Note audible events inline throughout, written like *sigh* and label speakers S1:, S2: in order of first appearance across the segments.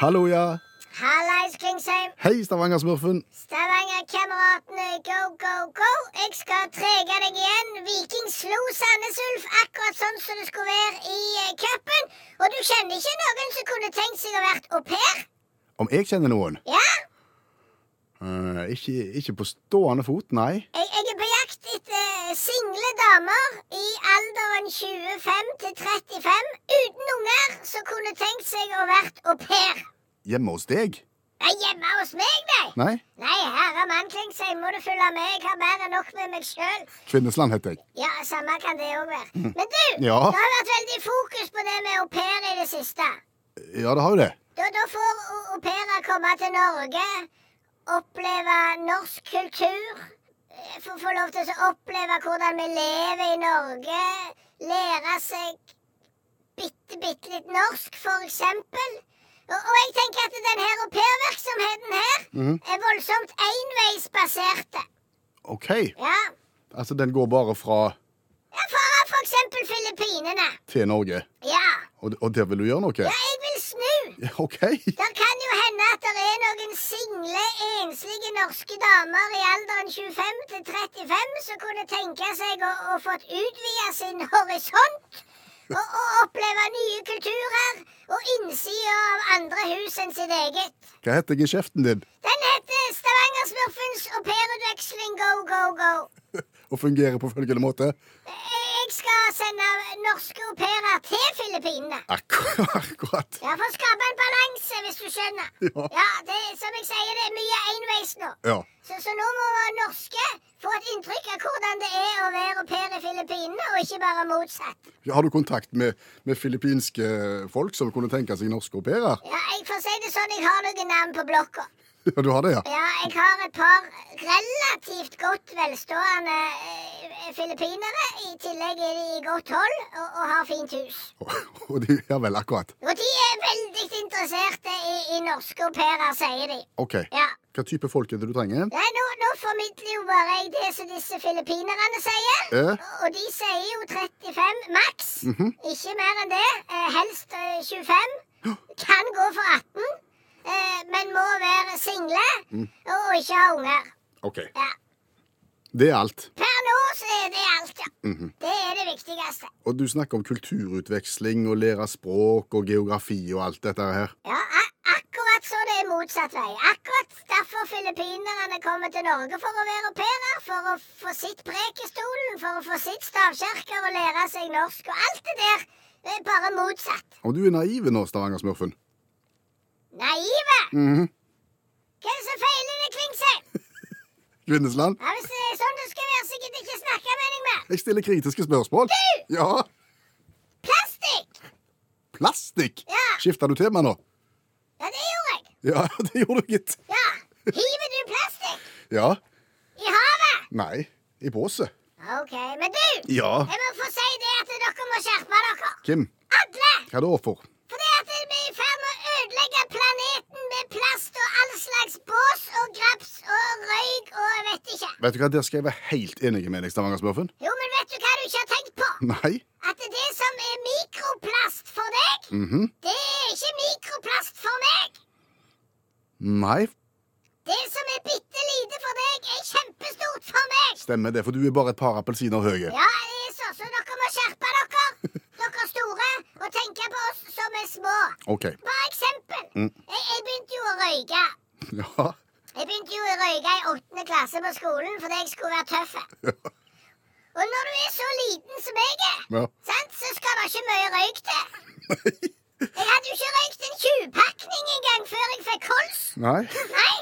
S1: Hallo, ja.
S2: Hallais, Klingsheim.
S1: Hei, Stavanger-smurfen.
S2: Stavanger-kameratene, go, go, go. Jeg skal trege deg igjen. Viking slo Sandnes Ulf akkurat sånn som det skulle være i eh, cupen. Og du kjenner ikke noen som kunne tenkt seg å vært au pair?
S1: Om jeg kjenner noen?
S2: Ja,
S1: Eh, ikke, ikke på stående fot, nei.
S2: jeg, jeg er på jakt etter eh, single damer i alderen 25 til 35 uten unger som kunne tenkt seg å vært au pair.
S1: Hjemme hos deg?
S2: Nei, hjemme hos meg, nei.
S1: Nei.
S2: Nei, herre mann, Klingsheim, må du følge med. Jeg har mer enn nok med meg sjøl.
S1: Kvinnesland heter jeg.
S2: Ja, samme kan det òg være. Men du,
S1: Ja.
S2: det har vært veldig fokus på det med au pair i det siste.
S1: Ja, det har jo det.
S2: Da, da får au- au pairer komme til Norge, oppleve norsk kultur. eh, Få, få lov til å oppleve hvordan vi lever i Norge. Lære seg bitte, bitte litt norsk, for eksempel. Og, og jeg tenker at denne aupairvirksomheten her
S1: Mhm.
S2: er voldsomt enveisbaserte.
S1: OK.
S2: Ja.
S1: Altså, den går bare fra
S2: ja, fra for eksempel Filippinene.
S1: til Norge.
S2: Ja.
S1: Og, og der vil du gjøre noe?
S2: ja, jeg vil snu.
S1: Ja, *laughs* OK.
S2: Det kan jo hende at det er noen single, enslige norske damer i alderen 25 til 35 som kunne tenke seg å, å fått utvida sin horisont. Og, og oppleve nye kulturer og innsider av andre hus enn sitt eget.
S1: Hva heter geskjeften din?
S2: Den heter Stavangersmurfens aupairutveksling go, go, go.
S1: Og fungerer på følgende måte?
S2: Jeg jeg skal sende norske au pairer til Filippinene.
S1: Akkur *laughs* akkurat.
S2: Ja, for å skape en balanse, hvis du skjønner.
S1: Ja.
S2: ja det, er- som jeg sier, det er mye enveis nå.
S1: Ja.
S2: Så, så nå må vi norske få et inntrykk av hvordan det er å være au pair i Filippinene, og ikke bare motsatt.
S1: Har du kontakt med, med filippinske folk som kunne tenke seg norske au pairer?
S2: Ja, jeg får si det sånn, jeg har noen navn på blokka.
S1: Ja, du har det, ja?
S2: Ja, jeg har et par relativt godt velstående eh, filippinere. I tillegg er de i godt hold og, og har fint hus.
S1: Og de, ja vel, akkurat.
S2: Og de er veldig interesserte i, i norske au pairer, sier de.
S1: OK.
S2: Ja.
S1: Hva type folk er det du trenger?
S2: Nei, nå, nå formidler jo bare jeg det som disse filippinerne sier.
S1: Ja.
S2: Og de sier jo 35 maks. Ikke mer enn det. Eh, helst eh, 25. Kan gå for 18. Eh, men må være single og, og ikke ha unger.
S1: OK.
S2: Ja.
S1: Det er alt.
S2: Per nå så er det alt, ja. Det er det viktigste.
S1: Og du snakker om kulturutveksling og lære språk og geografi og alt dette her.
S2: Ja, a- akkurat så det er motsatt vei. Akkurat derfor filippinerne kommer til Norge for å være au pairer, for å få sitt prek i stolen, for å få sitt stavkirker og lære seg norsk. Og alt det der det er bare motsatt.
S1: Og du er naiv nå, Stavanger-smurfen.
S2: Naive!
S1: Mhm.
S2: Hva er det som feiler det, Klingsheim?
S1: Kvinnesland,
S2: Ja, hvis det er sånn det skal være, så gidder jeg ikke snakke med deg mer.
S1: jeg stiller kritiske spørsmål. Ja.
S2: Plastikk!
S1: Plastikk!
S2: Ja.
S1: Skifter du tema nå?
S2: Ja, det gjorde jeg.
S1: Ja, *laughs* det gjorde du, gitt.
S2: Ja. Hiver du plastikk
S1: Ja.
S2: i havet?
S1: Nei. I båset.
S2: OK. Men du,
S1: Ja.
S2: jeg må få si det at dere må skjerpe dere.
S1: Kim,
S2: Alle!
S1: hva da for?
S2: Fordi at vi er i ferd med å ødelegge planeten med plast og all slags bås og graps og røyk og jeg vet ikke.
S1: Vet du hva, Der skal jeg være helt enig med deg, Stavanger-smurfen.
S2: Jo, men vet du hva du ikke har tenkt på?
S1: Nei.
S2: At det som er mikroplast for deg,
S1: Mhm.
S2: det er ikke mikroplast for meg.
S1: Nei,
S2: Det som er bitte lite for deg, er kjempestort for meg.
S1: stemmer det, for du er bare et par appelsiner høye.
S2: Ja, det er sånn, så dere må skjerpe dere, dere store, og tenke på oss som er små.
S1: OK. *laughs*
S2: Bare eksempel.
S1: Mm.
S2: Jeg, jeg begynte jo å røyke.
S1: Ja.
S2: Jeg begynte jo å røyke i åttende klasse på skolen fordi jeg skulle være tøff. Og når du er så liten som jeg er,
S1: ja.
S2: sant, så skal det ikke mye røyk til.
S1: Nei.
S2: Jeg hadde jo ikke røykt en 20-pakning engang før jeg fikk kols.
S1: *laughs* Nei.
S2: Nei.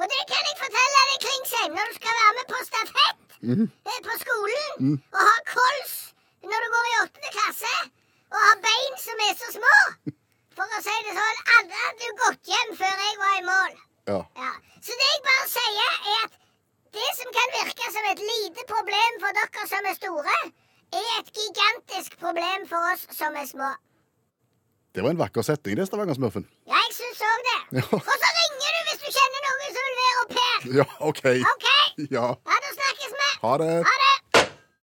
S2: Og det kan jeg fortelle deg, Klingsheim, når du skal være med på stafett eh, på skolen og ha kols når du går i åttende klasse og har bein som er så små. For å si det sånn, alle hadde jo gått hjem før jeg var i mål.
S1: Ja.
S2: Ja. Så det jeg bare sier, er at det som kan virke som et lite problem for dere som er store, er et gigantisk problem for oss som er små.
S1: Det var en vakker setning, det, Stavanger-smurfen.
S2: Ja, jeg syns òg det.
S1: Ja.
S2: Og så ringer du hvis du kjenner noen som vil være au pair.
S1: *laughs* Ja, OK.
S2: OK?
S1: Ja.
S2: Ja, da snakkes vi.
S1: Ha det.
S2: Ha det.